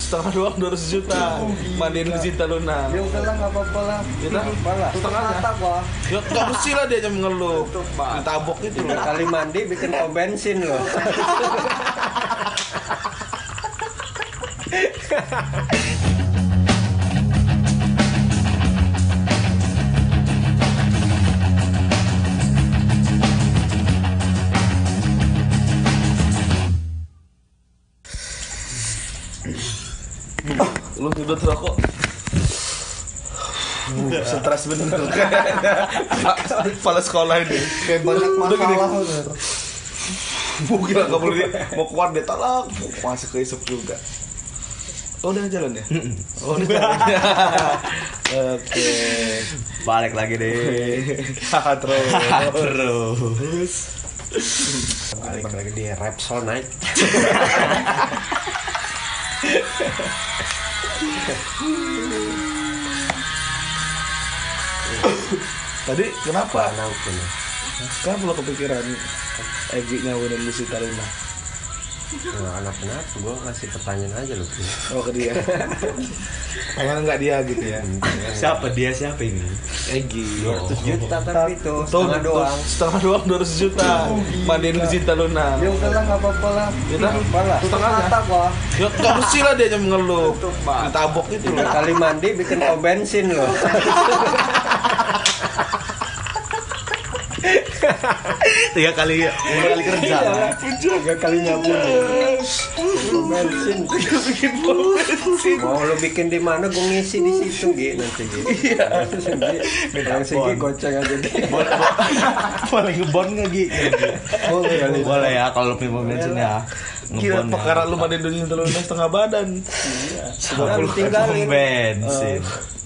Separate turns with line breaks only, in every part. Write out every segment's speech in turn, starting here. setengah doang 200 juta mandiin ke Cinta Luna
Ya udahlah nggak apa-apa lah.
Kita?
malah
Setengahnya?
Mata gua.
ya nggak mesti lah dia aja mengeluh ditabok gitu loh
Kali mandi bikin pom bensin loh.
lu udah rokok Uh, stres bener Kepala sekolah ini
kayak banyak
Udah gini.
masalah bener.
Gila gak boleh dia- Mau keluar dia tolak Masuk ke isep juga Oh udah jalan ya? Oh udah jalan ya Oke
Balik lagi deh.
Haha, Terus
Terus.
Balik lagi di Repsol naik.
Tadi kenapa?
Panang punya.
Kenapa lo kepikiran Egi nyawinin Lucy Taruna?
Nah, anak kenapa? Gua ngasih pertanyaan aja loh.
Oh ke dia Pengen nggak dia gitu ya
Siapa dia siapa ini?
Egi
100 juta tapi itu
Tuh,
setengah
tuh,
doang.
setengah doang 200 juta mandiin ke Cinta Luna
Ya udahlah nggak apa-apa lah.
Kita?
malah
Setengahnya?
Mata gua.
ya nggak mesti lah dia aja mengeluh ditabok gitu loh
Kali mandi bikin pom bensin loh.
Tiga kali ya. tiga kali kerja.
Iya,
lah.
Tiga kali nyabu. Pom bensin. Mau lu bikin di mana gua ngisi di situ Gi nanti Gi. Iya. Yang segi goceng aja Gi.
Boleh ngebon nggak Gi?
Boleh kali.
Boleh ya kalau lu mau bensin ya.
Gila
Ngebon ya.
perkara Iya. lu mandiin ke Cinta Luna setengah badan
Udah lu tinggalin. bensin.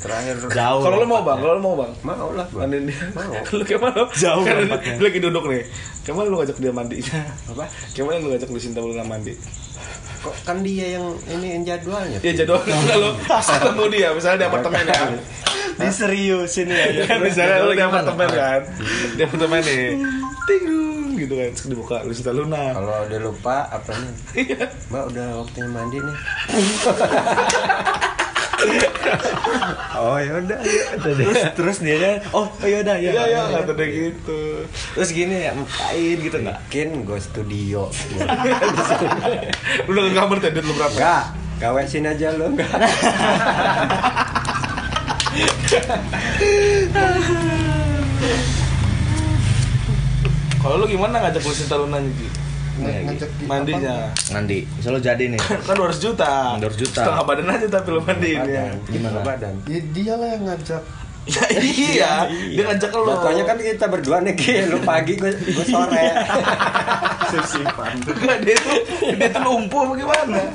Terakhir
Jauh.
Oh. kalau lu mau bang kalau lu mau bang
mau lah gua.
mandiin dia
Mau.
lu kemana
Jauh
kan ini
lompatnya.
dia lagi duduk nih kemana lu ngajak dia mandi apa kemana lu ngajak Lucinta Luna mandi
Kok kan dia yang ini yang jadwalnya.
ya jadwal kalau ketemu dia misalnya di apartemen ya
Diseriusin ya.
kan misalnya lu di apartemen kan di apartemen nih ting gitu kan terus dibuka Lucinta Luna Iya,
Kalau udah lupa apa nih? Mbak udah waktunya mandi nih.
Oh ya udah. Terus terus dia kan, oh ya udah ya.
iya iya kata dia gitu
Terus gini ya, ngapain gitu nggak?
Bikin gue studio. Iya,
lu udah ke kamar tadi lu berapa
Enggak, gawesin aja lo.
Kalau lu gimana ngajak gue Sinta Luna gitu?
Nah, gitu.
Ngecek di
Mandinya.
Nanti, misal lu jadi nih.
Kan 200 juta.
200 juta.
Setengah badan aja tapi lu mandiin ya.
Gimana? Iya. Badan.
apa? Ya, dia lah yang ngajak
Ya iya, dia ngajak lu.
Jatuhnya kan kita berdua nih, Ki. Lu pagi, gue sore.
sisipan
Enggak, dia itu dia itu lumpuh apa gimana?
Nah,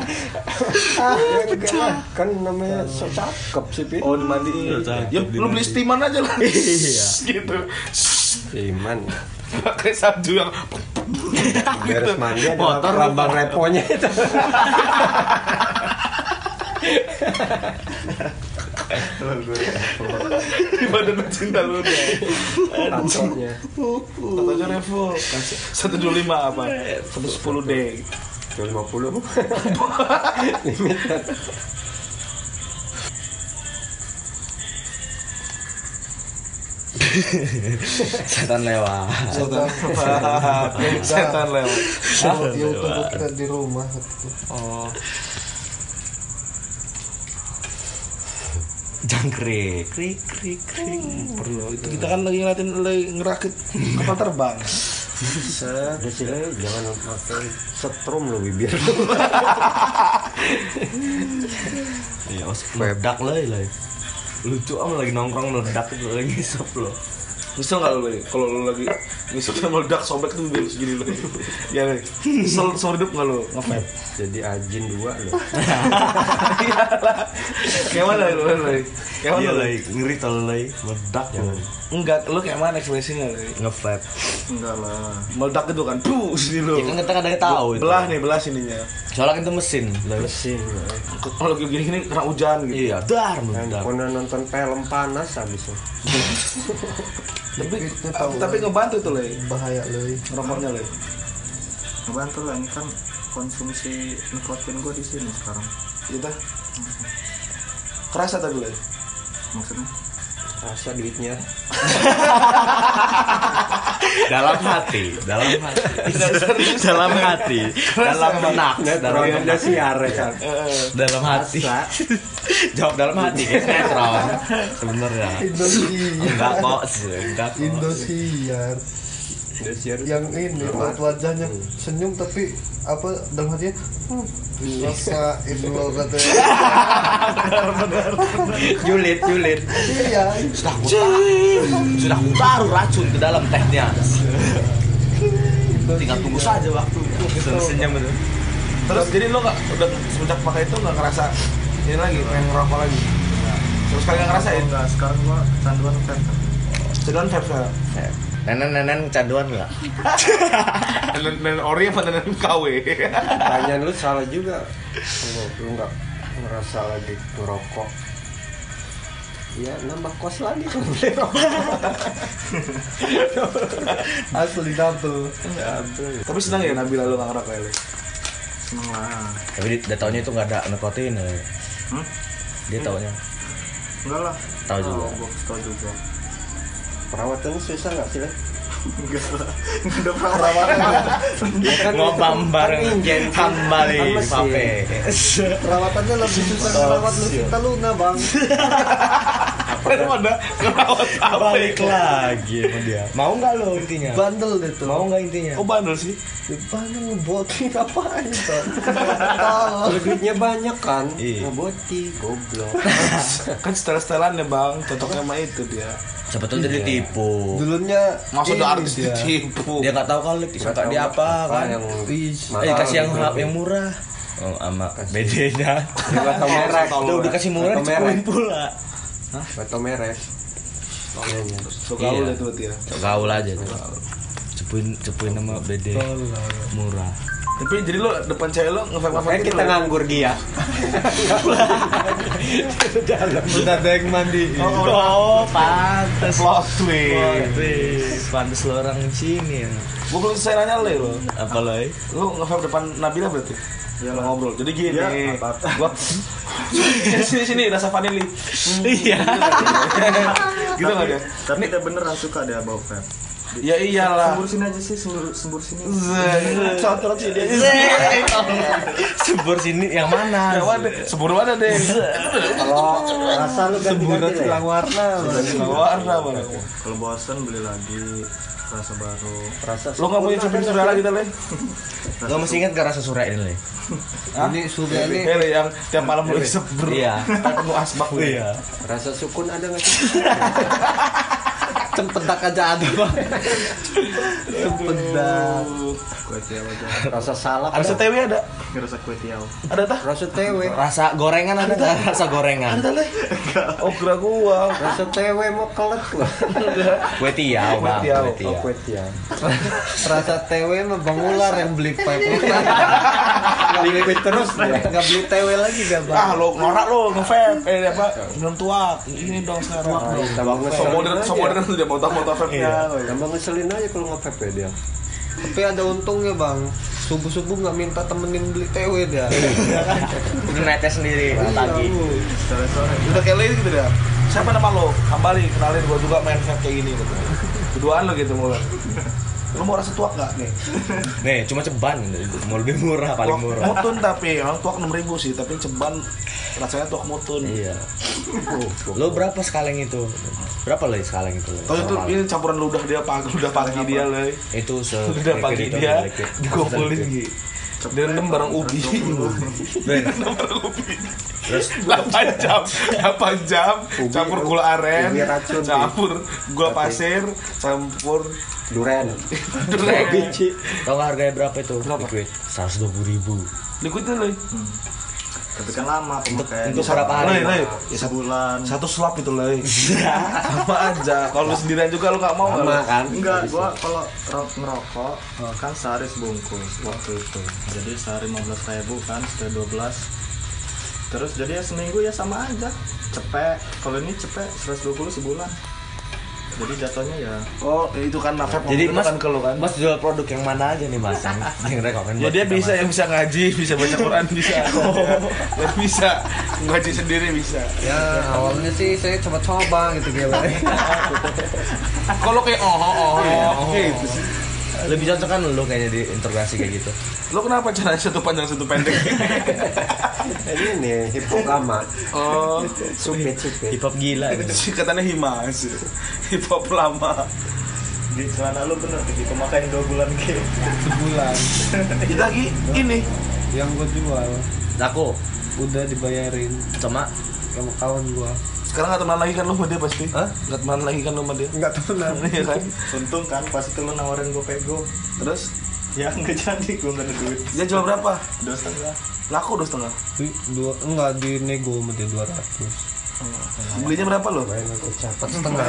Ah, ya juga lah. kan namanya so cakep sih, Pi.
Oh, dimandiin. Ya, lu beli steaman aja lah. Iya. gitu.
Iman.
Pakai sabju yang
Beres mandi ada
Motor
lambang reponya itu.
di badan cinta lu deh.
Tatonya.
Katanya Revo. Kasih 125 apa?
Iya.
110 D.
250.
Setan lewat.
setan
Iya.
Setan lewat.
dia utuh di rumah gitu.
Oh.
Jangkrik. Krik krik krik.
perlu itu kita kan lagi ngeliatin lagi ngerakit kapal terbang
Udah sih, Le, jangan pakai setrum lu bibir.
Iya, os meledak lah lah. Lucu am lagi nongkrong meledak itu lagi ngisep lo.
misal nggak lo Le? kalau lo lagi misalnya meledak sobek tuh bibir segini lo ya nih misal seumur hidup nggak lo ngapain
Jadi ajin dua lo.
kayak mana lo lo kayak mana
Iya
lo
lah, ngeri tau lo lah, meledak ya.
enggak lo kayak mana ekspresinya lo
Ngevap.
enggak lah
meledak itu kan tuh sini lo
Ya kan kita kadang tahu itu.
belah nih belah sininya
Soalnya kan itu mesin. Lo.
Mesin. Le.
kalau lagi gini gini kena hujan gitu
Iya, dar meledak.
Handphone nonton film panas habis itu.
tapi
Kita tahu.
tapi ngebantu tuh lo
bahaya loh
rokoknya lo
ngebantu lah ini kan konsumsi nikotin gue di sini sekarang
Gitu. Kerasa tadi lo. ya?
maksudnya
Rasa duitnya
dalam hati dalam hati dalam hati dalam benak dalam
Nggak
benak
sih ya, are
Iya.
Eh,
dalam hati
Rasa
jawab dalam hati kayak sinetron sebenarnya
Indosiar
enggak kok enggak kok
Indosiar
Indosiar
yang ini raut wajahnya senyum tapi apa dalam hatinya hmm, rasa idul katanya
julid julid
iya
sudah kutar sudah kutar racun ke dalam tehnya tinggal tunggu saja waktunya senyum itu
Terus jadi lo nggak udah semenjak pakai itu nggak ngerasa ini lagi pengen ngerokok lagi. Terus kalian nggak ngerasain?
enggak sekarang gua canduan vape
Sedon vape sekarang.
nenen nenen canduan nggak
Nenen nenen ori apa nenen KW?
Pertanyaan lu salah juga Lu, lu nggak ngerasa lagi ngerokok Ya nambah kos lagi kalau beli rokok
asli double
Tapi senang ya Nabila lo nggak ngerokok ya? Li?
seneng lah
tapi dia taunya itu nggak ada nikotin ya.
Hmm?
dia taunya
enggak lah
Tahu juga.
Oh, gua tahu juga
Perawatan susah nggak sih? Lan?
enggak lah udah perawatan
Ya kan
ngobam bareng
injen.
kembali
Kan mesin.
pape
perawatannya lebih susah ngerawat lu kita luna bang
Kan ada ngerawat apa?
balik lagi sama dia mau nggak lo intinya
bandel deh tuh
mau nggak intinya
Oh bandel sih.
bandel ngebotin apaan tuh tahu
Lu duitnya banyak kan?
Iya.
Ngeboti, goblok.
Kan setelan-setelan ya bang, cocoknya sama itu dia.
Iya.
sebetulnya dia ditipu
dulunya
Maksud
ini
artis
dia.
ditipu.
dia nggak tahu kalau disangka
Tahu
dia apa
apa
kan
yang
Is.
eh kasih yang
mahal gitu.
yang murah oh, sama bedanya
Batu merek
udah udah kasih murah
ya. Atau merek.
dicukurin pula
Batu merek Kayaknya.
So gaul
Iya.
itu berarti ya.
gaul aja tuh cepuin cepuin sama bede murah
Tapi jadi lo depan cewek lo nge-vape apa
Makanya
gitu?
kita
Lo?
nganggur dia
sudah ada yang mandi
oh, pantes
Plot twist.
Wih, pantes lo orang sini ya
Gue belum selesai nanya lo ya, lo.
apa lo eh?
Lo nge-vape depan Nabila berarti?
Iya
Ya lo ngobrol. Jadi gini.
Ya, apa-apa.
Gua sini sini rasa vanili.
iya
Gitu enggak dia?
tapi udah beneran suka deh bau vape
Ya iyalah.
sembur sini aja sih sembur sembur sini
Cocok sih dia.
sebur sini yang
Ya
mana
Seburu mana deh?
Kalau rasa lu
semburat
ganti-ganti lah
hilang
ya?
warna
Warna mana?
kalau bosan beli lagi rasa baru
Rasa
Lo nggak punya cerpen saudara gitu leh?
lo masih ingat gak rasa surai ini Le?
Ini surya Iya,
Iya.
ini
Eh Le, yang tiap malam lo isep bro.
Iya.
Ketemu asbak lo.
iya
Rasa sukun ada nggak sih? Cempedak aja ada Bang. Cempedak
kue tiaw aja
Rasa salak
Ada
ada
TW ada?
ngerasa kue tiaw
Ada tah?
Rasa tewe
rasa gorengan ada nggak? rasa gorengan
Ada leh. Oh kira gua.
Rasa tewe mau kelet gua.
kue tiaw bang
tiaw.
kue
Oh,
tiaw
kue tiaw. Rasa tewe mah Bang Ular yang beli pipe. Nggak beli pipe terus dia. Nggak beli tewe lagi gak Bang?
Ah lo norak lo nge-vape eh apa minum tuak ini dong sekarang dong.
Tambah
So modern so modern tuh dia motor motor vape
Iya.
nya.
Tambah ngeselin aja kalau nggak pipe dia. Tapi ada untungnya Bang. Subuh-subuh nggak minta temenin beli tewe dia.
udah netes sendiri
Iya.
pagi
sore sore
Udah kayak lain
ya?
gitu dia. Siapa nama lo? Kembali kenalin gua juga main vape kayak gini gitu. Keduaan lo gitu mulai. Lo mau rasa tuak gak nih?
nih cuma ceban mau lebih murah paling
Tuak
murah
Mutun tapi orang tuak 6000 sih tapi ceban rasanya tuak mutun.
iya lo berapa sekaleng itu berapa lo sekaleng itu Le?
Tahu itu
Normal.
ini campuran ludah dia pagi ludah pagi dia
Eh,
leh.
itu se
Ludah pagi
gitu,
dia digopulin gitu. Direndam bareng ubi.
Ben,
Direndam bareng ubi.
terus
8 jam 8 jam
Ubi-
campur gula aren
ubi racun, Bi.
campur gula pasir campur
Duren.
duren
Biji.
tau nggak harganya berapa itu
Berapa?
liquid seratus dua puluh ribu
likuidnya loh
tapi kan lama pemakaian
untuk berapa
Lay,
hari
lay.
ya sebulan
satu slap itu loh sama aja kalau lu sendirian juga lu gak mau nggak,
Sama
Loy?
kan?
Enggak, gua kalau ro- ngerokok eh, kan sehari sebungkus waktu itu. Jadi sehari 15 ribu kan, sudah 12. Terus jadi ya seminggu ya sama aja. Cepet, kalau ini cepet 120 sebulan. jadi jatuhnya ya
Oh, itu kan nafas
Jadi mas,
kan kalau kan.
mas jual produk yang mana aja nih mas? Yang, yang rekomen
Ya
buat
dia
kita,
bisa
Mas.
yang bisa ngaji, bisa baca Quran, bisa. Dan bisa ngaji sendiri bisa.
ya awalnya sih saya coba-coba gitu gitu
Kalau kayak oh oh oh, oh, gitu sih.
Lebih cocok kan lu kayaknya di interogasi kayak gitu.
Lo kenapa cara satu panjang satu pendek?
ini hipogama
oh,
supit supit
Hip hop gila. gitu.
singkatannya himas. Hip hop lama.
di celana lu bener gitu makanya dua bulan gitu
sebulan
Kita lagi ini.
yang gue jual
Nah, Aku
udah dibayarin
sama
sama kawan gue
Sekarang gak teman lagi kan lo sama dia pasti?
Hah?
Gak teman lagi kan lo sama dia?
nggak temenan
Iya kan?
untung kan pas itu lu nawarin gue pego
Terus
ya nggak jadi gue nggak ada duit
dia jual berapa?
dosa lah
Laku dua setengah.
Di- dua enggak di nego sama dia dua ratus
Belinya berapa lo?
main aku catat setengah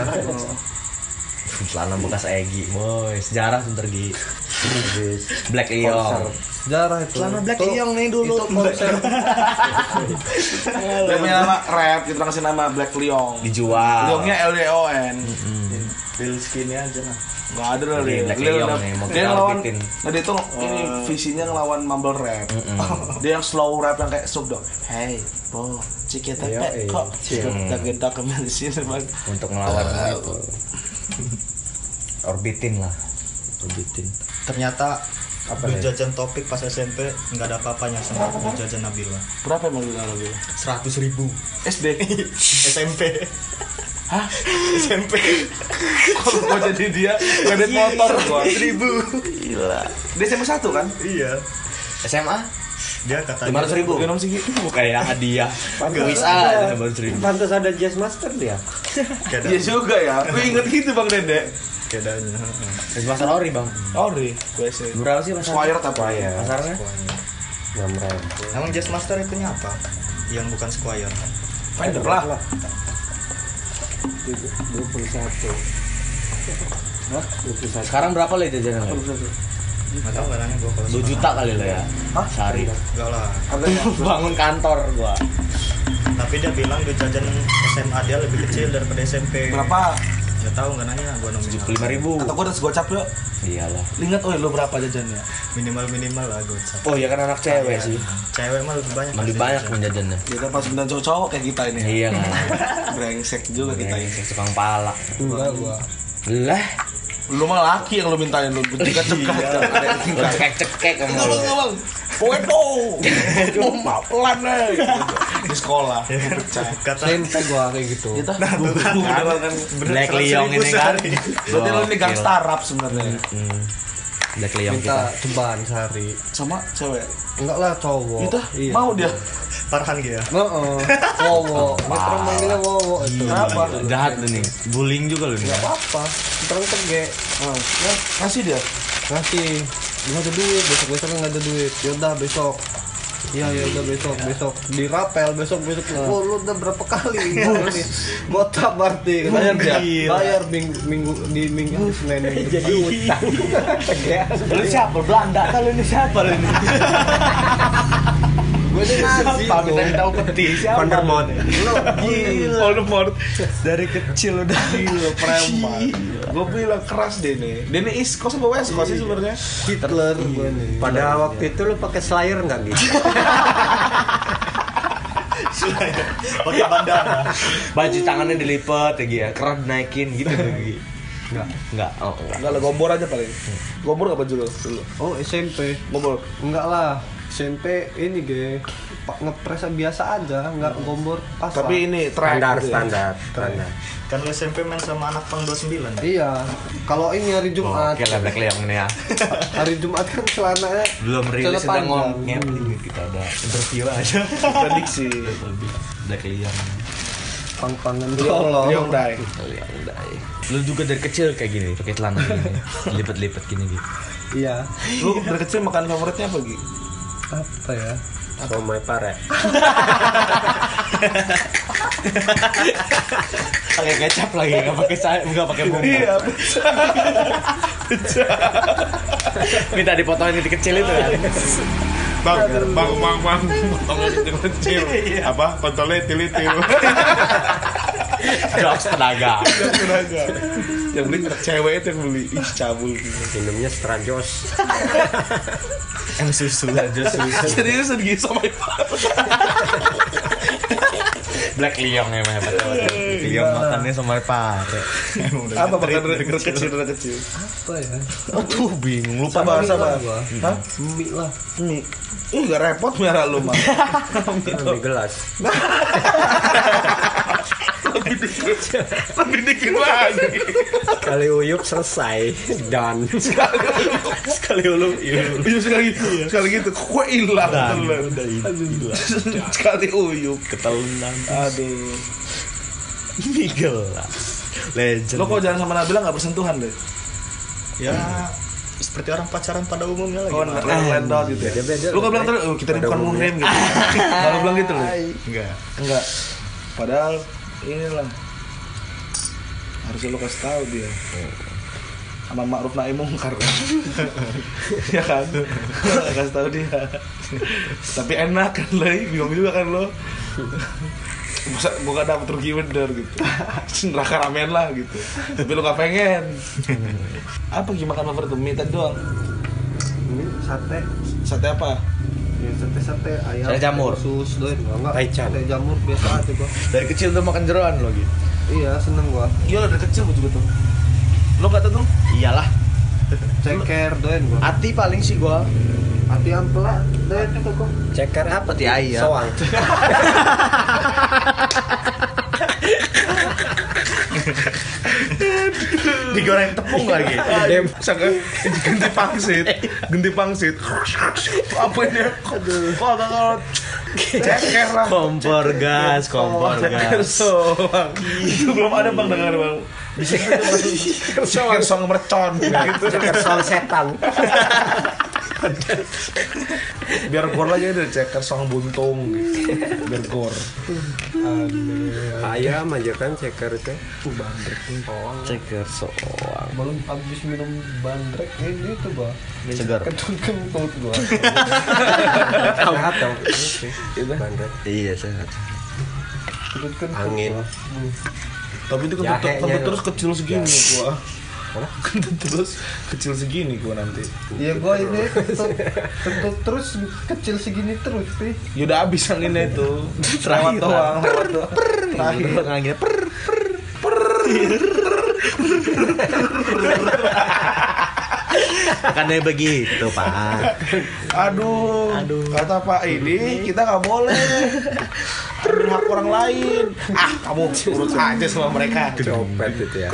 celana bekas Egi, boy sejarah tuh tergi.
habis
Black
konser
Eyong.
sejarah itu
Celana Black Eyong nih dulu.
itu konser
Dia punya nama rap, kita kasih nama Black Liong.
Dijual. Hmm,
Leongnya L D O N.
real skinnya aja lah
Enggak ada lah
Ini
dia.
Iya, Black
Dia
Lion
ngelawan-
nih, mau
dia
kita Oh.
ngelawan.
orbitin.
Nah, dia tuh ini visinya ngelawan mumble rap. Dia yang slow rap yang kayak Snoop Dogg. Hey, bo, cikita
Iya,
pet
iya.
kok. Gedak gedak kemana di sini, Bang.
Untuk ngelawan itu. Orbitin lah. Orbitin.
ternyata
Apa
apa jajan topik pas SMP nggak ada apa-apanya sama duit jajan Nabila
Berapa emang lu lalu?
seratus ribu
SD.
SMP SMP
Kalau gua jadi dia, kredit motor
Iya.
gua.
ribu
Gila. Dia SMA 1 kan?
iya
SMA
dia katanya
lima ratus ribu.
Genom sih gitu.
Kayak hadiah.
Pantas
Kuis
ada.
aja baru seribu.
pantas ada jazz master dia
Kayak ada-
Iya juga ya. Gue inget gitu Bang Dede.
kayak ada- heeh.
Mas Ori bang.
Ori, gue sih.
Berapa sih mas? Ori?
Squire apa ya?
Pasarnya?
enam ribu
Emang Jazz Master itunya apa? Yang bukan ya? Squire.
Fender lah.
dua puluh satu dua puluh satu
Sekarang berapa lah jajanan? lo?
Enggak tahu barangnya gua kalau
2 juta kali lo ya. Sehari.
Enggak lah.
Bangun kantor gua.
Tapi dia bilang duit jajan SMA dia lebih kecil daripada SMP.
Berapa?
Enggak tahu enggak nanya gua nominal.
lima ribu.
Kata gue harus gocap yuk.
Iyalah.
Ingat, oi lu berapa jajannya?
Minimal-minimal lah gua. cap.
Oh ya kan anak cewek sih. Nah.
Cewek mah lebih banyak.
Lebih
pasti
banyak
jajan.
menjajannya.
Kita pas bintang cowok-cowok kayak kita ini ya.
Iya kan.
Brengsek juga kita ini.
Kayak tukang palak.
enggak gua
Lah,
Lu mah laki yang lu mintain lu kan? bertiga cegah
lo cekek-cekek sama lo.
Ngomong Poeto Cuma pelan eh. Iya. Di sekolah Iya, Pecah
Kata kan.
tempe gua kayak gitu
Kita Nah, beneran kan
bener
Black
100.000
Lion ini kan.
sehari.
Berarti lu ini
Gokil.
gang startup sebenarnya
Hmm. Black Lion
minta
kita.
cobaan sehari
Sama cewek
enggak lah
Oh,
cowok
Kita
iya
mau dia
Farhan gitu ya.
Heeh, wowo, Mas orang manggilnya wowo itu.
Kenapa?
Jahat lu nih. Bullying juga lu nih.
Enggak apa-apa. Terus tege.
Kasih dia
Kasih. Enggak ada duit, besok besok enggak ada duit. Ya udah besok. Iya ya udah besok besok dirapel besok besok. Oh lu udah berapa kali? Botak berarti bayar dia. Bayar minggu, minggu di minggu Senin Iya. minggu depan.
Lu siapa? Belanda kalau ini siapa lu ini?
Gue ini nazi.
Kita tahu peti siapa?
Vandermont
Voldemort
Dari kecil udah
Gila preman Gue bilang keras deh nih Dia ini East Coast apa West Coast sih sebenarnya
Hitler
Iya.
gue nih.
pada waktu itu lu pakai slayer nggak gitu
Pakai bandana.
baju tangannya dilipat ya Gi, ya. Kerap naikin gitu Gi.
Enggak.
Enggak. Oh, enggak.
Enggak lah, gombor aja paling Gombor gak baju lu? Dulu.
Oh SMP.
Gombor
Enggak lah. SMP ini ge Pak ngepres biasa aja, enggak gombor pas.
Tapi ini track
standar
gitu ya.
standar standar
Kan lu SMP main sama anak pang 29.
Iya, kalau ini hari
Oh,
Jumat,
Oke lah Black Lion ini ya.
hari Jumat kan celananya
Belum rilis
celana
udah
panjang.
ngomongnya kita udah interview aja.
prediksi
Black Lion.
Pang-pangan
Iya,
Liong
tolong.
Dai
ya. Lu juga dari kecil kayak gini, pakai celana gini, lipet-lipet gini gitu.
Iya,
lu dari kecil makan favoritnya apa Gi?
apa ya?
somai pare
Pakai kecap lagi, nggak pakai sayap, nggak pakai bumbu. Minta dipotongin titik kecil itu kan.
bang bang bang
Iya.
bang potongnya kecil kecil apa kontolnya tilit tilit
Drugs tenaga.
Tenaga. yang beli cewek itu yang beli ih cabul
minumnya strajos
Yang susu aja susu.
serius sedih sama ibu
Black ya, Lion emang hebat. Lion makannya sama pare.
apa makan dari kecil dari kecil
Apa ya?
Aduh bingung lupa
sabar sabar Hah?
Mie lah.
mie Ih, gak repot merah lu mah
di gelas
lebih dikit lagi
kali uyup selesai dan
sekali ulu.
Iya sekali sekali gitu kue hilang telan. sekali uyup
Ketelan.
aduh
Miguel lah. Legend.
lo kok jangan sama Nabila nggak bersentuhan deh
ya seperti orang pacaran pada umumnya lagi
oh
nah.
Mak.
lendot gitu ya
Beda-beda
lo nggak bilang terus "Oh, kita ini bukan muhrim gitu kalau bilang gitu lo
enggak
enggak padahal inilah harusnya lo kasih tahu dia sama Ma'ruf Naim Mungkar ya kan kasih tahu dia tapi enak kan lo bingung juga kan lo masa gue gak dapet rugi bener gitu neraka ramen lah gitu tapi lo gak pengen apa gimana makan favorit lo? mie tadi doang
Ini sate.
sate apa
Ya, sate-sate ayam.
Sate jamur.
Sus doy. Enggak.
Taichan.
Sate jamur biasa aja gua.
Dari kecil tuh makan jeroan lo gitu.
Iya, seneng gua.
iya lo dari kecil gue juga tuh lo gak tau tuh
Iyalah.
Ceker doy gua.
Ati paling sih gua.
Ati ampela doy juga gua.
ceker apa
Ati ayam.
soang
Digoreng tepung lagi.
Dem, sangka ganti pangsit, ganti pangsit. Apa ini? Aduh. Kok agak kalau ceker lah.
Kompor gas, kompor
Ceker
gas.
soang. Itu belum ada bang dengar bang. Bisa gitu masuk ceker soang mercon gitu.
ceker soal setan
Biar gor aja dari ceker soang buntung gitu. Biar gor.
ayam aja kan ceker itu
Ceker soang.
Belum habis minum bandrek ini tuh gua.
Segar.
Kentut kentut gua.
sehat dong Gitu. bandrek
Iya, sehat.
Kentut kentut.
angin
Tapi itu kentut
Jahenya
kentut
tuh.
terus kecil segini gua. Kentut terus kecil segini gua nanti.
Ya gua ini kentut kentut terus kecil segini terus sih.
Ya udah abis anginnya itu. Lewat
Terakhiran.
doang, lewat doang. Terakhir.
Anginnya per per per. Makanya Kan begitu, Pak.
Aduh, kata Pak ini kita nggak boleh Aduh, hak orang lain. Ah, kamu urut aja sama mereka.
copet itu ya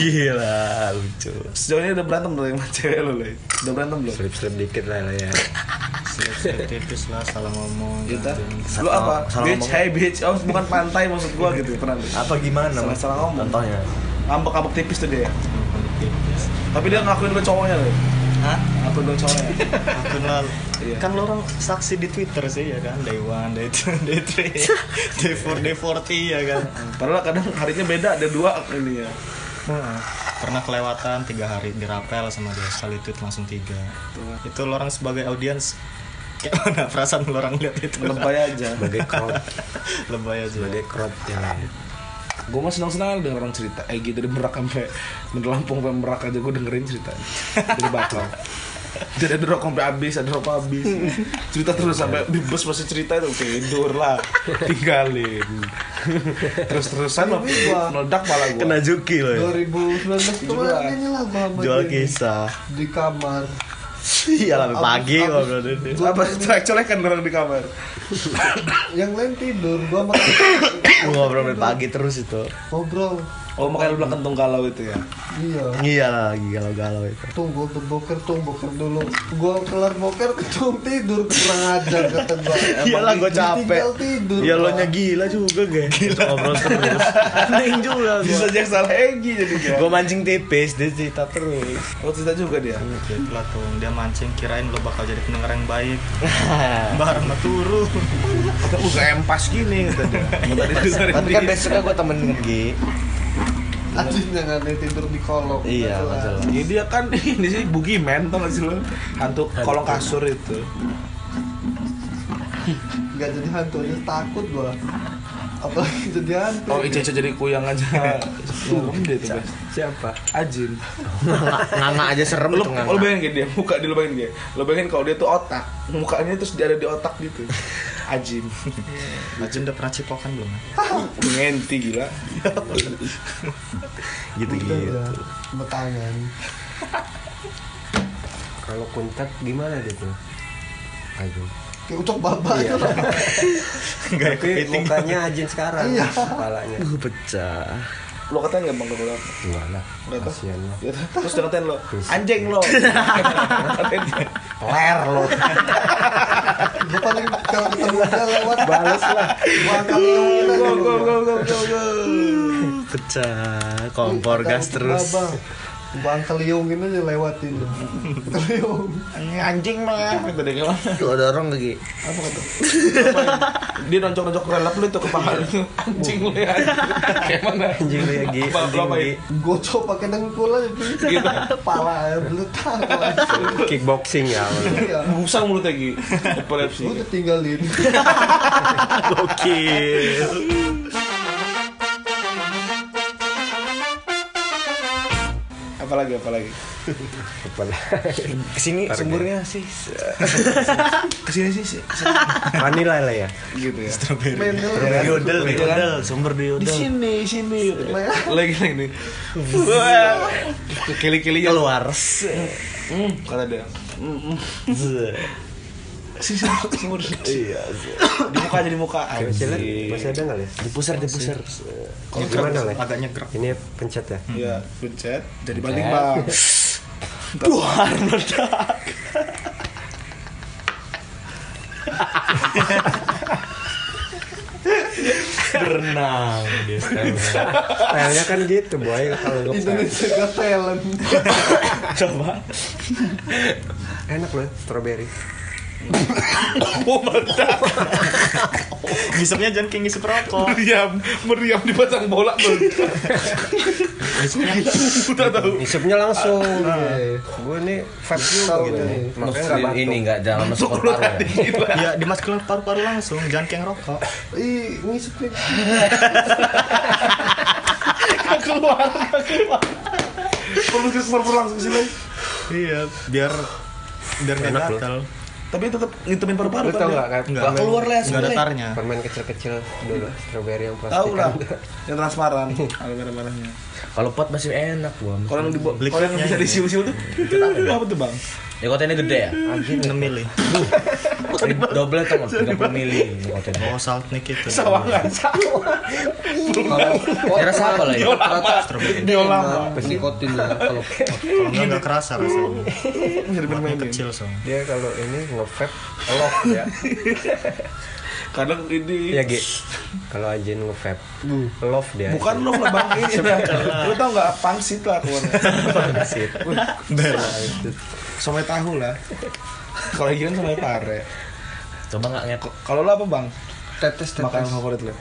Gila, lucu.
Sejauh ini udah berantem belum sama cewek lo, Lay? Udah berantem belum?
slip-slip dikit lah lah ya
Selip-selip tipis lah salah ngomong
Kita,
anjing.
lu apa?
salah
Bitch,
ngomong.
hey bitch. Oh, bukan pantai maksud gua gitu pernah. Lay?
Apa gimana?
Salah-
Mas?
salah ngomong.
Contohnya.
Ngambek-ngambek tipis tuh dia. ya?
Tipis.
Tapi dia ngakuin lo cowoknya, Lay.
Hah?
Ngakuin lo cowoknya.
Akun lalu.
Iya.
Kan lo orang saksi di Twitter sih ya kan Day 1, Day 2, Day 3 Day 4, Day 40 ya kan
Padahal kadang harinya beda, ada dua ini ya.
Pernah kelewatan tiga hari dirapel sama dia Sekali tweet langsung tiga Itu lo orang sebagai audiens Kayak mana perasaan lo orang lihat itu
Lebay aja.
sebagai crowd
Lebay aja
sebagai crowd jalan
Gue mah senang-senang denger orang cerita. Eh gitu dari Merak sampai dari Lampung sampai Merak aja gue dengerin cerita. Dari bakal. Jadi ada rokok sampai habis, ada rokok habis. Cerita terus sampai di bus masih cerita itu tidur lah, tinggalin. Terus terusan meledak pala gue.
Kena juki lo ya.
2019 kemarin ini lah gua sama
Jual
dia
kisah.
di kamar.
Iya, lah, pagi
Abis-
ngobrol itu.
Apa colek-colek kan orang di kamar?
Yang lain tidur, gua makan
Ngobrol sampai pagi terus itu.
ngobrol.
Oh makanya lu bilang kentung galau itu ya?
Iya.
Iya lah, lagi galau-galau itu.
Tunggu untuk boker, tunggu boker dulu. Gua kelar boker, ketum tidur kurang ajar kata gua. Emang
Iyalah gua capek.
ditinggal tidur.
Ya lo
Pak.
nya gila juga guys. Gitu, Ngobrol terus. Neng juga
Bisa
gua.
aja salah Egi jadi kan?
Gua mancing tipis dia cerita terus.
Oh cerita juga dia?
Gitu lah tuh Dia mancing kirain lo bakal jadi pendengar yang baik Barang mah turu
Kata uh gak empas gini kata dia Mau tadi dengerin
Tapi kan besoknya gua temenin Gi.
Aduh, jangan dia tidur di kolong. Nggak
Iya,
jelas.
masalah.
Ya dia kan ini sih bugiman tau gak sih lo? Hantu kolong kasur itu.
nggak jadi hantu aja takut gua apalagi jadi hantu
Oh Ica Ica jadi kuyang aja Serem deh itu guys
Siapa?
Ajin
Nganga aja serem
Lu,
tuh
lu
nganga.
bayangin dia, muka dia lu bayangin dia Lu bayangin kalau dia tuh otak Mukanya terus dia ada di otak gitu Ajin
Ajun udah pernah cipokan belum?
Ngenti gila
gitu gitu
Udah, betangan
Kalau kuntet gimana dia tuh? Aduh.
kayak ucok babak
Iya.
tuh.
Gak
Tapi mukanya Ajin sekarang
Iya.
kepalanya.
pecah
Lu katanya nggak bang kalau
Enggak lah.
Berapa?
Kasihan lah.
Gitu. Terus dia ngatain lo, anjing lo. Ngatain dia.
Ler lo.
gua paling kalau ketemu dia lewat
Balas lah.
bakal ngomongin aja
Go, go,
gua.
go, go, go, go.
pecah kompor gas terus
Babak. Bang keliungin aja lewatin Keliung
Anjing lo. Kata dia kayak,
Tuh, ada orang lagi
Dia noncok-noncok relap lu tuh ke paha lu. Anjing lu ya. Kayak mana?
anjing lu ya Gi
Apa-
anjing
apa ya?
lu, Gi
Gocok pakai dengkul aja
Gitu.
Pala beletak langsung.
Kickboxing ya.
Iya
Busang mulutnya gitu. Epilepsi.
Lu ditinggalin
gokil
Apalagi, apalagi.
kesini sumbernya sih
Kesini sih sih.
Vanilla lah ya.
Gitu ya.
Mendel
di yodel di yodel sumber
Di
di yodel
sini, sini. Lagi lagi nih. Wah. Kili-kili ya.
keluar
Hmm, kata dia. Hmm, hmm. Sisi sumur. Iya. Di muka aja di muka.
Kecilnya
Anjing.
masih ada nggak ya?
dipusar dipusar
Kalau gimana lah?
Agak nyegrek
Ini pencet ya.
Iya, pencet. Jadi balik bang.
keluar meledak berenang dia sekarang.
Stylenya kan gitu boy kalau gue
Indonesia Got Talent
coba
enak loh strawberry.
Ngisepnya jangan kayak ngisep rokok
Meriam, meriam dipasang bola tuh. Udah tahu.
Isepnya langsung. Gue nih vape juga gitu.
nih.
Makanya nggak batuk.
ini nggak dalam masuk
Lu
paru
tadi gila.
Ya dimasukkan paru-paru langsung Jangan kayak ngerokok
Ih ngisep nih
Perlu ke sumur perlu langsung sini.
Iya Biar Biar gak
Enak loh.
gatal
Tapi tetap ngitemin paru-paru.
Lu
kan,
tau
ya?
nggak kan?
Nggak.
permen-
Keluar lah
Gak ada
sebenarnya.
tarnya
Permen kecil-kecil dulu strawberry yang plastik.
Tahu lah.
kan.
Yang transparan. Ada merah-merahnya.
kalau pot masih enak gua
Kalau yang dibo-
Liquidnya
kalau yang bisa
ini.
disiul-siul tuh. Itu apa tuh bang?
ya kotanya gede ya
6 mili
double tuh 30 mili kotanya
Oh saltnik itu
Sawangan.
kira apa lah ya
Strawberry Iya.
Diolam Pesikotin lah kalau
Kalau nggak nggak kerasa rasanya
Bisa
Ini
dimain-mainin.
kecil soalnya
Dia kalau ini nge-vape elok ya.
Kadang ini
Ya G. Kalau anjing nge-vape love dia.
Hmm. Bukan lo lah bang ini dah. Lo tau nggak pangsit lah keluarnya.
Pangsit.
Somai tahu lah. Kalau Giran somai pare.
coba nggak ngekok
Kalau lo apa bang?
Tetes
Makanan
tetes
favorit lo?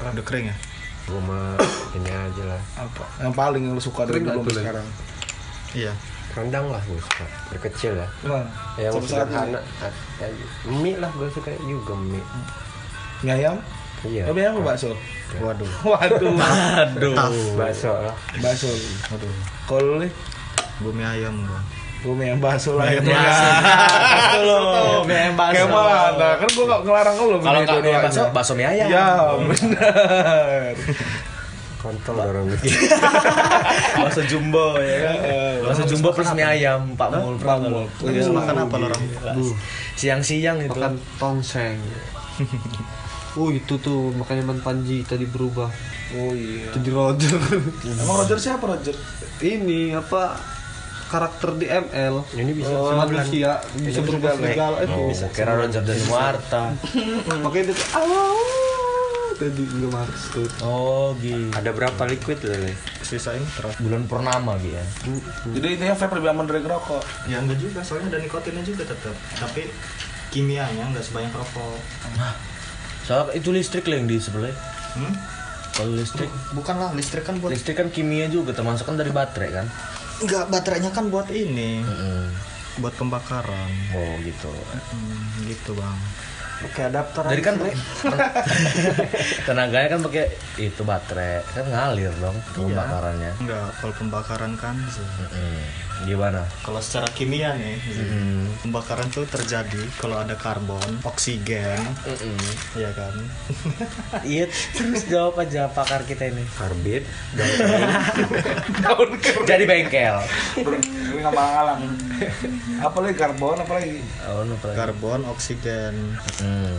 Udah kering ya
Gue mah ini aja lah.
Apa? Yang paling yang lo suka dari dulu sampai sekarang?
Iya
Rendang lah gue suka. Dari kecil ya.
Bang,
Yang
sampai saat ini.
sederhana. Ya, Mie lah gue suka juga mie.
Mie ayam?
Iya.
Tapi ayam apa ya? bakso?
Waduh
Waduh,
aduh
Bakso lah.
bakso.
Waduh
Kalau lo nih,
Bumi ayam gua
gue mie ayam bakso lah ya.
Bakso lo, mie ayam bakso.
Kayak mana? Kan gue nggak ngelarang lo.
kalau nggak Iya, mie ayam bakso
bakso.
bakso mie ayam
Ya, benar.
Kontol dorong gitu.
Iya,
bakso jumbo ya kan bakso jumbo plus mie ayam pak mul Pak Mul.
Terus makan apa lo orang?
siang-siang itu
Makan tongseng Oh itu tuh makanya Man Panji tadi berubah
Oh iya.
jadi Roger
Emang Roger siapa Roger?
ini apa karakter di ML
Ini bisa
Oh, manusia bisa berubah segala itu
Oh, kira Roger dan Warta.
makanya dia tuh, "Aww." tadi nggak marah tuh
Oh, gitu.
Ada berapa liquid lele?
Sisain terus
Bulan purnama gitu ya.
Jadi intinya vape lebih aman dari ngerokok.
Ya enggak juga soalnya ada nikotinnya juga tetap Tapi kimianya nggak sebanyak rokok
Soalnya itu listrik lah yang di sebelah.
Hmm?
Kalau listrik,
Bukan lah listrik kan buat
listrik kan kimia juga termasuk kan dari baterai kan.
Enggak baterainya kan buat ini Buat pembakaran
Oh, gitu.
Hmm, gitu bang
pakai adapter
Jadi
aja
kan-
sih, Nek.
Tenaganya kan pakai itu baterai, kan ngalir dong
Iya.
pembakarannya.
Enggak, kalau pembakaran kan se-
Hmm, Gimana?
kalau secara kimia nih pembakaran tuh terjadi kalau ada karbon, oksigen, ya kan.
Iya, terus jawab aja pakar kita ini.
karbit
Jadi bengkel.
Gue nggak malam. Apalagi karbon, apalagi
Oh, lu pernah-
Karbon, oksigen.
Hmm.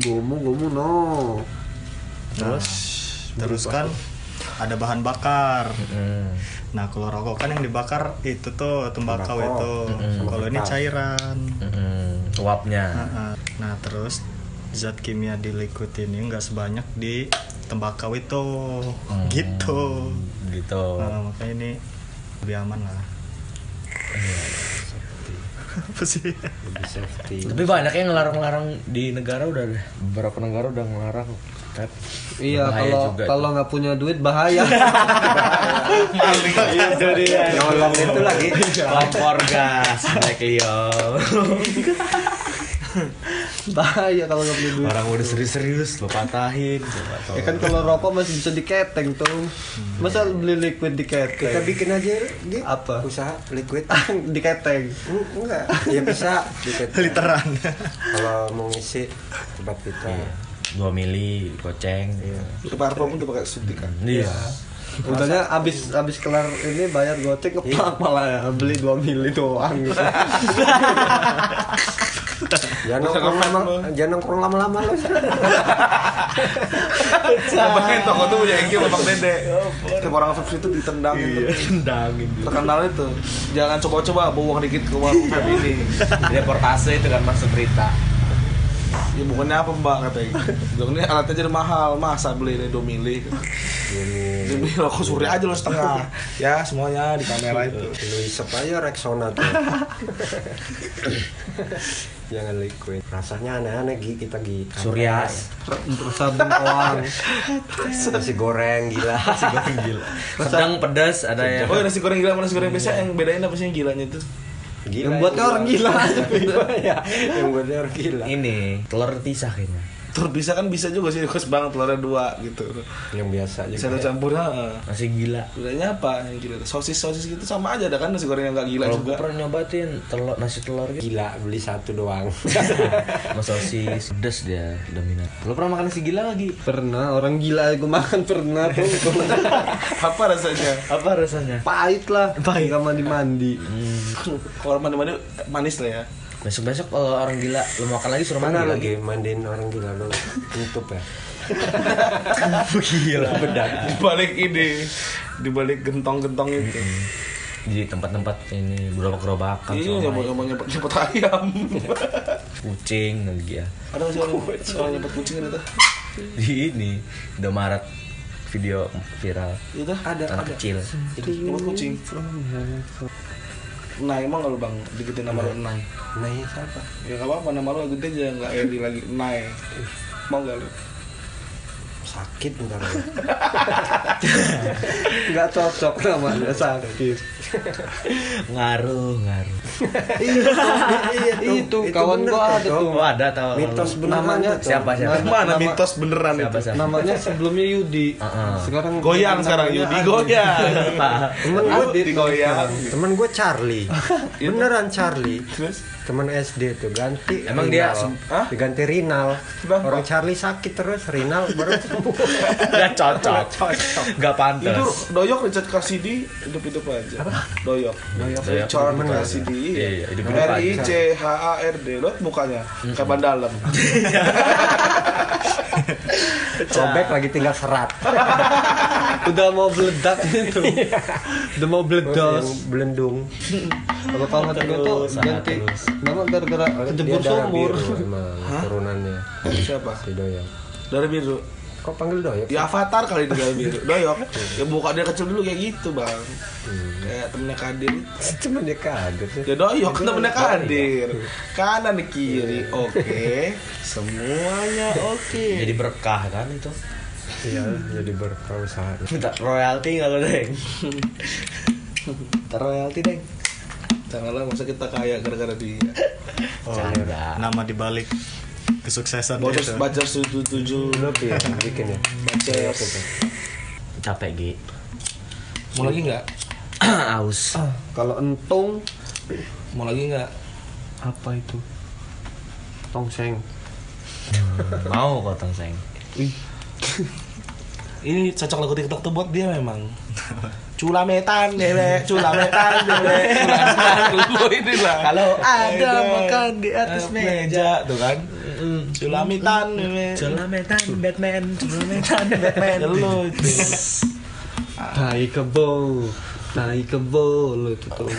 Gomu, gomu no.
Terus terus kan ada bahan bakar.
Hmm.
Nah, kalau rokok kan yang dibakar itu tuh tembakau itu.
Hmm.
Kalau ini cairan.
Hmm. Uapnya.
Nah, nah, terus zat kimia di liquid ini nggak sebanyak di tembakau itu.
Hmm.
Gitu.
Gitu.
Nah, makanya ini lebih aman lah. Apa sih?
lebih safety
Tapi banyak yang ngelarang-larang di negara udah ada. Iya. Beberapa negara udah ngelarang. Tet.
Iya,
Bahaya
kalau
juga
kalau nggak punya duit bahaya.
Itu dia.
nyolong itu lagi
Lapor gas, naik Leo.
bahaya kalau nggak punya duit.
Orang udah serius-serius lo patahin. Coba tolong.
Ya kan kalau rokok masih bisa diketeng tuh. Masa beli liquid
kita
diketeng?
bikin aja di
Apa?
usaha liquid
diketeng.
Hmm, enggak ya bisa liquid
Literan.
kalau mau ngisi obat kita
dua mili goceng.
itu parfum udah pakai suntikan.
Iya.
Untungnya abis abis kelar ini bayar goceng
Iya.
ngeplak malah ya. beli 2 mili doang gitu.
jangan nongkrong lama jangan nongkrong lama-lama lu
Abang toko tuh punya Eki sama Bang Dede. Tiap orang vape itu ditendang gitu.
Tendangin
Terkenal itu. Jangan coba-coba bawa uang dikit ke warung vape ini.
Reportase itu kan masuk berita.
Ya bukannya apa Mbak katanya. Bilang ini alatnya jadi mahal, masa beli ini 2 mili. Demi rokok suri aja lo setengah. Ya semuanya di kamera itu.
lu isep aja Rexona tuh jangan liquid rasanya aneh-aneh Gi, kita gi
Surya.
Rasa bengkoang.
nasi goreng gila
Sedang pedas ada yang
Oh nasi goreng gila sama nasi goreng biasa yang bedain apa sih yang gilanya tuh?
gila
Yang buatnya orang gila.
ya yang buatnya orang gila
ini telur pisah kayaknya.
Telur bisa kan bisa juga sih, kos banget telurnya dua gitu.
yang biasa aja
Satu campurnya. eh.
Masih gila.
Bedanya apa yang gila? Sosis sosis gitu sama aja ada kan nasi goreng yang gak gila
Kalau gue
juga.
pernah nyobatin telur nasi telur gitu.
gila beli satu doang
Mas sosis pedas dia dominan. Lo pernah makan nasi gila lagi?
Pernah orang gila gue makan pernah tuh.
apa rasanya?
Apa rasanya?
Pahit lah. Pahit.
ya.
Gak mandi-mandi.
Kalau mandi-mandi manis lah ya.
Besok-besok kalau orang gila lo makan lagi suruh
mana
mandi lagi.
lagi mandiin orang gila lu tutup ya
Gila bedak.
Di balik ini, di balik gentong-gentong itu.
Di tempat-tempat ini gerobak-gerobakan
Iya,
sama
nggak mau nggak mau nyepet nyepet ayam.
kucing lagi ya.
Ada nggak sih orang orang nyepet kucing ada tuh?
Di ini Indomaret video viral
Itu ada
anak
ada.
kecil.
Itu nyepet kucing. Nah emang kalau bang dikitin nama lu Nay.
nah ya siapa
Ya nggak apa-apa nama lu gede aja nggak Eri lagi Nay. Mau nggak lu?
sakit bentar lu.
Gak cocok namanya sakit. Iya,
Ngaruh, ngaruh.
itu, kawan
bener
gua
tuh,
ada
Cok.
tuh.
Oh, ada tahu.
mitos beneran
Namanya
tuh, Cok.
siapa siapa?
Mana mitos beneran
Siapa
itu?
siapa?
Namanya sebelumnya Yudi.
Heeh.
Sekarang
Goyang sekarang iya. Yudi goyang.
temen gue
Adit goyang.
temen gue Charlie beneran Charlie
Terus?
temen SD tuh ganti
Emang
Rinal.
dia sem-
Hah?
diganti Rinal
Kenapa?
orang Charlie sakit terus Rinal baru sembuh
Gak cocok.
Itu
Gak pantas.
doyok Richard Cassidy hidup-hidup aja. Doyok. Doyok
Doyok
Richard
hidup-hidup aja.
Cassidy.
Iya, iya, hidup-hidup
R
aja.
I C H A R D lo mukanya kayak ban dalam.
sobek lagi tinggal serat
udah mau meledak gitu.
Iya.
udah mau
yang
meledos.
belendung
Kalau kawan gua tuh ganti nama gara-gara
dia
kejebur
darah
sumur.
biru emang turunannya
Siapa?
si Doyok
Dari biru.
kok panggil Doyok
Ya avatar kali itu dari biru. Doyok. Ya muka dia kecil dulu kayak gitu, Bang. Kayak temennya Kadir.
cuman dia kaget ya.
Ya doyok temennya Kadir. Kanan kiri. Oke. Semuanya oke.
Jadi berkah kan itu.
Iya, jadi berperusahaan
Minta royalti nggak lo deng? Minta royalti deng.
janganlah masa kita kaya gara-gara dia
Oh, nama dibalik kesuksesan
boros
Gitu.
itu.
baca tujuh tujuh
ya bikin ya
Capek Gi
mau lagi nggak
Aus
kalau entung
mau lagi nggak
Apa itu?
tongseng
Mau potong sayang
ini cocok lagu TikTok tuh buat dia memang culametan dewek culametan dewek culametan lu ini lah
Kalau ada
Ayo,
makan di atas
eh,
meja.
tuh kan culametan dewek
Celametan Batman Celametan Batman
Ya lu itu.
Tai kebo, tai kebo lu tuh.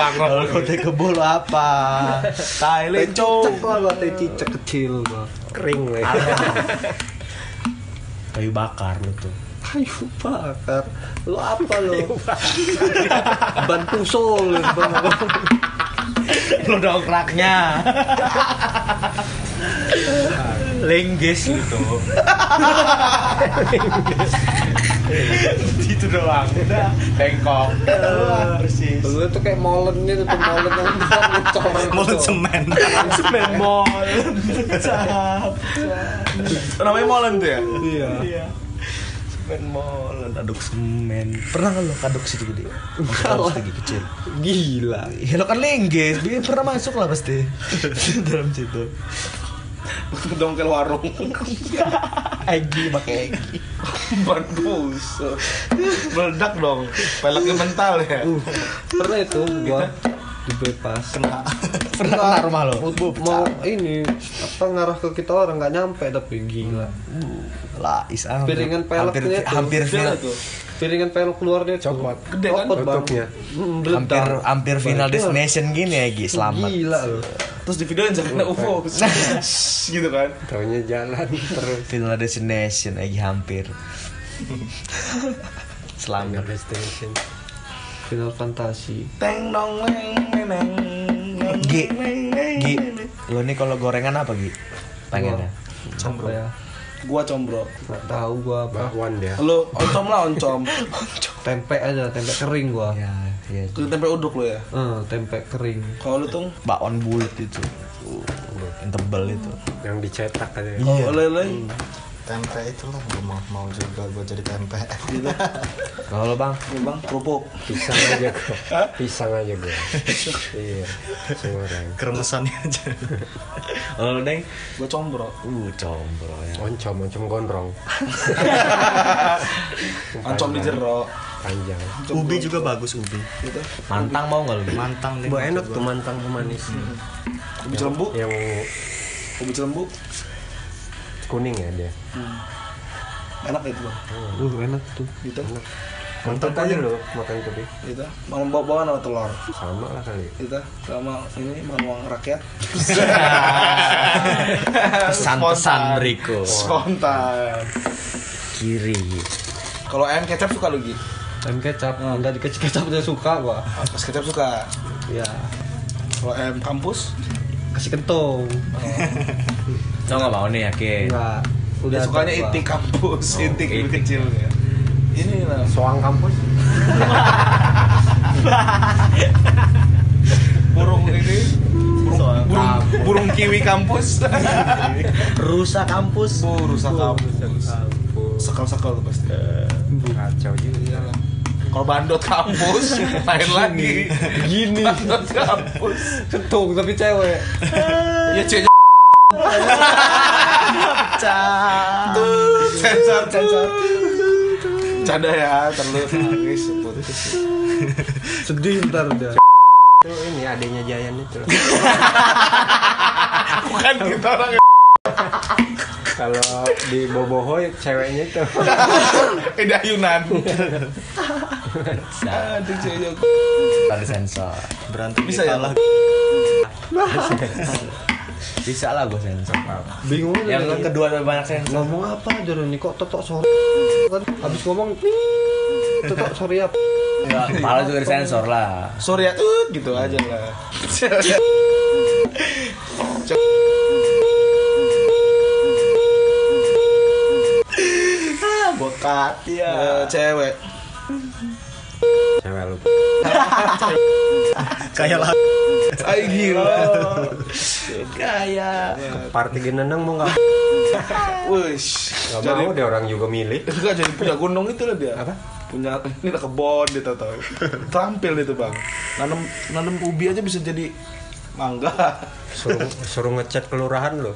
Pangrok.
Kalau tai kebo lu apa?
Tai
Cicek
leco.
gua, gua tai cicek kecil gua.
kering weh
Kayu bakar lu tuh
Kayu bakar. Lu apa lu? Ban pusol lu. Bang.
Lu dongkraknya Lenggis lu tuh Itu doang Udah Bengkok Persis
Iya. Lu tuh kayak molen gitu, tuh molen yang besar mencoreng.
Mulut semen. semen mall.
Namanya Molen tuh ya?
Iya.
Semen mall. Aduk semen. Pernah nggak lo kaduk situ gede?
Kalah.
Kaduk situ kecil.
Gila.
Ya lo kan linggis, dia pernah masuk lah pasti dalam situ.
Dongkel warung.
Egi pakai Egi.
Ban busuk. Meledak dong. Peleknya mental ya.
Pernah itu gua dibebas.
Kena. Pernah kena rumah lo.
mau ini apa ngarah ke kita orang nggak nyampe tapi gila
Lah, is hampir-
piringan kan peleknya tuh.
hampir hampir final,
piringan pelek keluarnya tuh.
Coklat.
gede kan tutupnya
hampir hampir final destination gini ya, Gi. Selamat.
gila loh
Terus di videoin jangan kena UFO. gitu kan.
taunya jalan terus
Final destination, Egi hampir. Selamat.
destination
final fantasi
Teng dong neng neng. neng,
Gi,
neng, neng,
Gi,
neng.
lo nih kalau gorengan apa Gi? Pengennya?
Apa ya
Gua combro.
nggak tahu gua apa
bakwan dia
Lu oncom lah oncom.
tempe aja tempe kering gua
Ya, ya.
Lu tempe uduk lu ya.
Eh, tempe kering
Kalau lu tuh
Bakwan bulat itu. Uh, yang tebel itu.
yang dicetak aja
kalau lu lu
Tempe itu lah, gue mau, mau juga gue jadi tempe.
gitu.
Kalau lo bang,
Nih bang kerupuk.
pisang aja gue pisang aja gue iya semua orang
keremesannya aja. Kalau lo neng,
Gua combro.
uh combro ya.
oncom oncom gondrong
Oncom di jero.
panjang
Ubi juga bagus ubi.
Gitu.
Mantang mau gak lu? Gi?
Mantang deh.
Buat enak tuh mantang pemanis
Ubi cilembu.
yang
Ubi cilembu.
kuning ya dia
Enak ya itu bang.
uh enak tuh
Gitu.
mantap aja lo makan kopi
Gitu. Mau bawa bawa sama telur.
sama lah kali
Gitu. Sama ini makan uang rakyat.
Pesan-pesan Riko
Spontan.
Kiri
Kalau ayam kecap suka lu gitu.
ayam kecap anda di kecap kecap aja suka gua
Pas kecap suka.
ya
Kalau ayam kampus
kasih kentong
Lo gak mau nih
Iya.
yakin?
ya udah
dia sukanya
ada gua.
itik kampus, itik, lebih kecil ya. Ini lah.
soang kampus
burung ini burung, burung, burung kiwi kampus
Rusa kampus
bu rusak kampus sekal sekal tuh pasti
kacau juga
Iyalah. kalau bandot kampus lain lagi gini bandot kampus
kentong tapi cewek
ya ceweknya Tuh, sensor sensor canda ya terlalu nangis putus
sedih ntar dia
itu ini adanya Jayan itu loh.
bukan kita orang
kalau di Bobohoy ceweknya itu
Eda Yunan aduh ceweknya
Ada sensor
Berantem
Bisa
bisa
ya,
kalah.
Bisa lah gue sensor
bingung aja
Yang kedua lebih banyak sensor
ngomong apa aja lu nih kok totok sore kan habis ngomong totok sore apa
Iya,
Ya, Kepala juga ada sensor lah
Surya tuh gitu aja lah
Ah,
Bokat
iya.
Eh, cewek
cewek lu
kayak lah
Ay gila.
Partai genenang mau nggak?
Wush.
Nggak
Jadi
mau deh orang juga milih.
enggak kan jadi punya gunung itu lah dia.
Apa?
Punya ini lah kebon dia tahu tahu. Terampil itu bang. Nanam nanam ubi aja bisa jadi mangga.
Suruh suruh ngecat kelurahan lo.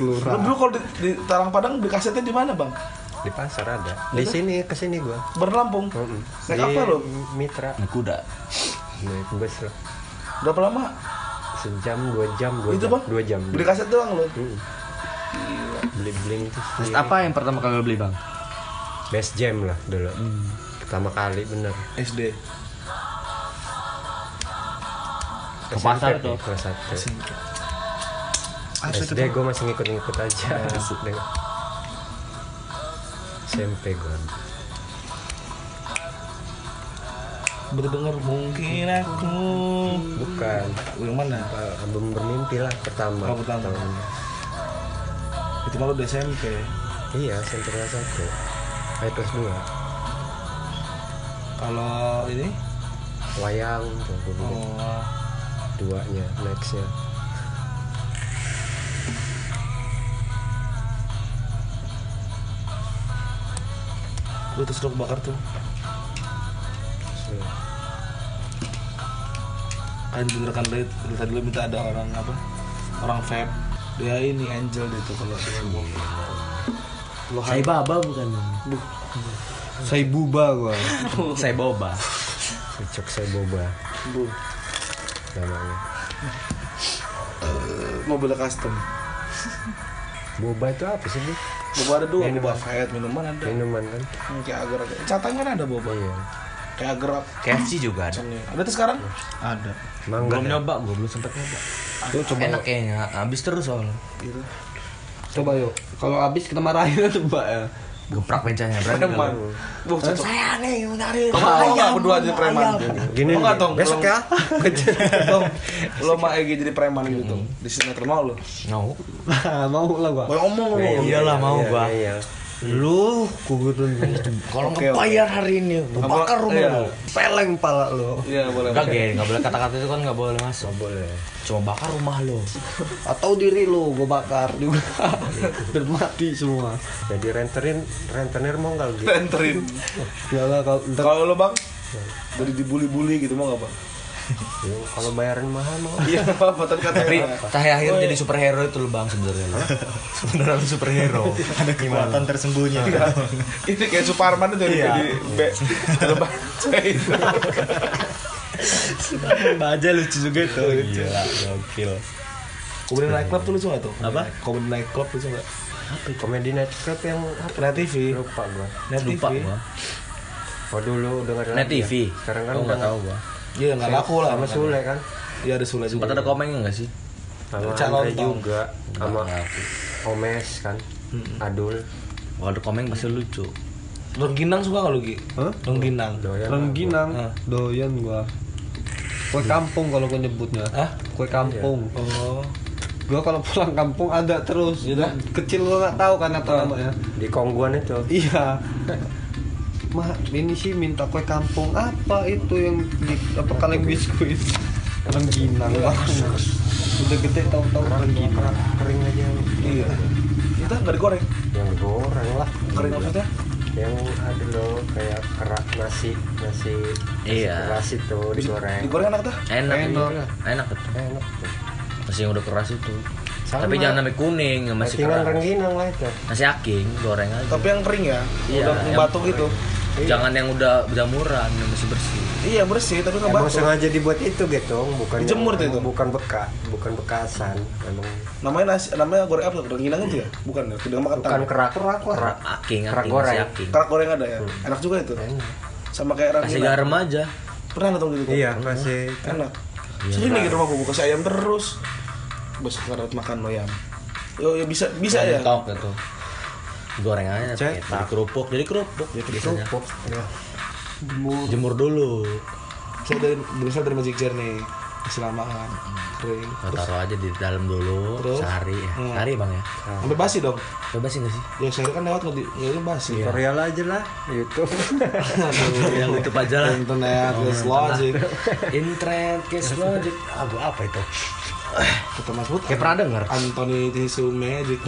Lu dulu kalau di, di Tarang Padang beli kasetnya di mana bang?
Di pasar ada. Di sini kesini gua.
Berlampung.
Mm-mm.
Naik apa lo?
Mitra.
Naik kuda.
Naik bus lo.
Berapa lama?
Sejam, dua jam, dua
itu
jam,
bang?
dua jam.
Beli kaset doang lo.
beli bling tuh
Terus
sendiri.
apa yang pertama kali lu beli bang? Hmm.
Best jam lah dulu. Pertama kali bener.
SD.
Ke
SMP,
pasar tuh.
Kelas satu.
Harus
SD gue masih ngikut-ngikut aja.
Ya.
SD. SMP gue.
Berdengar mungkin aku.
Bukan.
Yang mana?
Eh, Album bermimpi lah pertama.
Oh, pertama.
Tahunnya.
Itu malu udah SMP.
Iya, SMP kelas satu. Ayo kelas dua.
Kalau ini,
Wayang tuh gue beli
oh,
duanya nextnya.
gue terus lu bakar tuh.
Terus,
kan bener kan dari, dari tadi lu minta ada orang apa orang vape dia ini angel dia tuh kalau
Saya baba bukan bang.
Saya buba gua.
Saya boba.
Ucok saya boba
bu
namanya.
mobil custom
Boba itu apa sih? Bu?
boba ada dua boba vape minuman ada
Minuman kan?
Hmm, kayak agar agar catangan kan ada boba
Iya.
kayak agar
KFC juga ada.
acannya. ada tuh sekarang
ada
Mangga.
Belum
ya?
nyoba, gue belum sempet nyoba.
Lu coba
Enak kayaknya, habis terus soalnya.
gitu
coba yuk. Kalau habis kita marahin coba ya. Iya.
Geprak mencanya berani.
teman
kalau-
bu cocok
aneh yang mencari.
Kamu mau nggak berdua jadi preman gitu?
Gini
Mau nggak,
nih,
Tong?
besok
Lo-
ya.
Tong, lo sama Egi jadi preman gitu Tong. Di sinetron mau lo?
No.
Ah, Mau lah gua.
Mau ngomong
Oh,
lo?
Iyalah mau
Iya,
gua.
iya.
Lu kuburan
Kalau
Oke,
ngebayar hari ini, gua
Apa-
bakar rumah
iya.
lu.
peleng pala lu.
Iya boleh.
Enggak, Gen. Enggak boleh kata-kata itu kan enggak boleh masuk. Enggak boleh. Cuma bakar rumah lo.
Atau diri lu gua bakar juga. Biar mati semua.
Jadi renterin rentenir mau nggak gitu?
Renterin.
Iyalah Iya kalau ntar
Kalau lo bang, dari dibully-bully gitu mau nggak bang?
Ya, Kalau bayaran mahal mau.
Iya, nggak apa-apa, tapi katanya
Tapi
apa?
cahaya akhir jadi superhero itu lu bang sebenarnya. lu. Sebenarnya lu superhero.
ada kekuatan tersembunyi
Ini kayak Suparman itu
Iya.
jadi be lebah itu.
Mbak aja lucu juga itu
Gila, gokil.
Kemudian naik klub tuh lucu nggak tuh?
Apa?
Kemudian naik klub lucu nggak?
Komedi night club yang
Kreativi.
lupa gua.
Net
Lupa
TV.
gua.
Oh dulu udah nggak ada
Net
lagi ya?
TV.
Sekarang kan
Tahu
udah
enggak tahu gua.
Iya nggak laku lah.
Sama Sule kan.
Iya ada Sule juga.
Sempat ada komeng enggak sih?
Sama
Calon
Andre
Tong.
juga. Sama
Enggak.
Omes kan. Adul.
Kalau ada komeng pasti lucu.
Rengginang suka nggak lu Gi?
Hah?
Rengginang.
Doyan.
Rengginang
Ah.
doyan gua. Kue
Hmm.
kampung kalau gua nyebutnya.
Hah?
Kue kampung.
Oh. Iya
Gua kalau pulang kampung ada terus. Kecil gua nggak tahu kan apa namanya.
Di Kongguan itu.
Iya. Ma, ini sih minta kue kampung apa itu yang di apa kaleng biskuit? Rengginang banget. Udah gede tahu-tahu rengginang.
Kering aja.
Iya. Kita nggak digoreng.
Yang goreng lah.
Kering maksudnya?
Yang ada loh kayak kerak nasi nasi
Iya.
nasi keras itu digoreng.
Digoreng enak tuh.
Enak,
Enak.
enak, enak betul.
Enak tuh.
Nasi yang udah keras itu.
Sama.
Tapi jangan sampai kuning, yang masih
Rengginang
keras.
rengginang lah itu.
Nasi aking, goreng aja.
Tapi yang kering ya.
Iya,
Udah
yang Iya.
batuk gitu.
Jangan yang udah jamuran, yang masih bersih.
Iya bersih tapi nggak
Emang
batuk.
sengaja dibuat itu gitu, bukan
Dijemur tuh itu?
bukan bekas, bukan bekasan, emang
Namanya nasi, namanya goreng apa? Rengginang itu ya? Bukan ya? Tidak makan
bukan kerak kerak lah.
Kerak aking,
Kerak
aking,
goreng.
nasi aking.
Kerak goreng ada ya? Enak juga itu. Sama kayak
Kasih
rengginang.
garam aja.
Pernah nonton gitu?
Iya, masih
enak sering lagi di rumah gue kasih ayam terus besok ngarut makan loyam yo yo bisa bisa ya
Mentok itu. Goreng aja,
Cek.
pakai kerupuk, jadi kerupuk. biasanya.
kerupuk. Ya.
jemur
Jemur dulu.
saya dari berasal dari Magic Journey selamaan kering
Nah, taruh aja di dalam dulu
Terus?
sehari ya.
Hmm.
Sehari bang ya.
sampai basi dong
Coba sih nggak sih?
ya saya kan lewat nggak di- nggak di basi
Iya.
tutorial aja lah
Gitu.
YouTube
Aduh,
Yang YouTube aja lah.
internet is logic
Internet, case logic. Aduh apa itu?
kata Mas Put
Kayak pernah denger.
Anthony Tisu Magic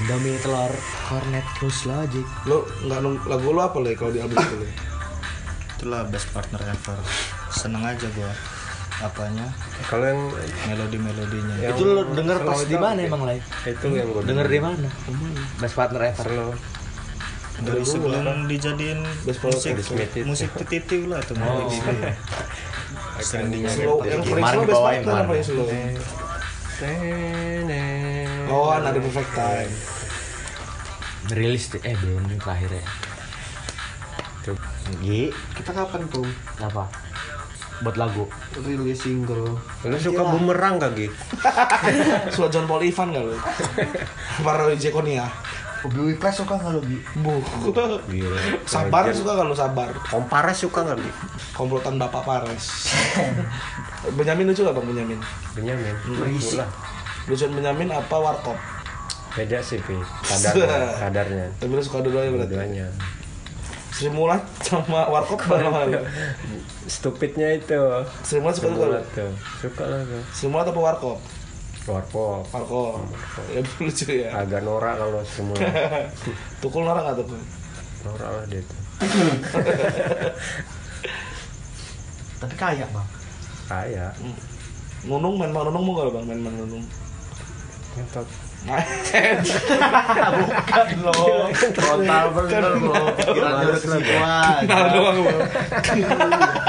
Indomie telur, cornet plus logic.
lo nggak nung lagu lo apa le kalau di album itu le
itulah best partner ever seneng aja gua apanya
kalau yang
melodi melodinya
Ya,
yang
Itu lo denger pas
slow
di mana
down,
emang lah?
itu yang gue
Denger di mana? Best partner ever lo.
dari sebelum dijadiin musik musik titiw lah
Oh,
itu melodi
iya.
sering dinyanyi
slow yang paling
Kemarin
slow best
dibawain,
partner
kemarin.
yang paling slow oh another perfect time
Rilis di- eh belum yang terakhir ya. Gi,
Kita kapan tuh
apa? Buat lagu.
rilis single?
lu suka bumerang kagak
suara John Paul Ivan nggak lo para Jekonia
Bobby Wiplas suka nggak lo Bi?
bu
Iya.
sabar suka kalau sabar
kompares suka nggak gitu
komplotan bapak Pares Benyamin lucu gak bang Benyamin
Benyamin Berisik lah
lucuan Benyamin apa Warkop
beda sih Pi kadarnya kadarnya
tapi lu suka dua-duanya berarti
keduanya
Sri Mulat sama Warkop bareng mana lu
stupidnya itu
Sri Mulat suka juga lu
Sebulan tuh suka lah tuh
Sri Mulat apa Warkop
warpok
Warkop ya lucu ya
agak norak kalau semua
Tukul norak gak Tukul
norak lah dia tuh
Tapi kaya bang.
kaya
Nunung main main Nunung mau gak lu, bang main main Nunung
ngentot
lo
Total bener lo. Pikirannya udah kesini.
kenal doang bang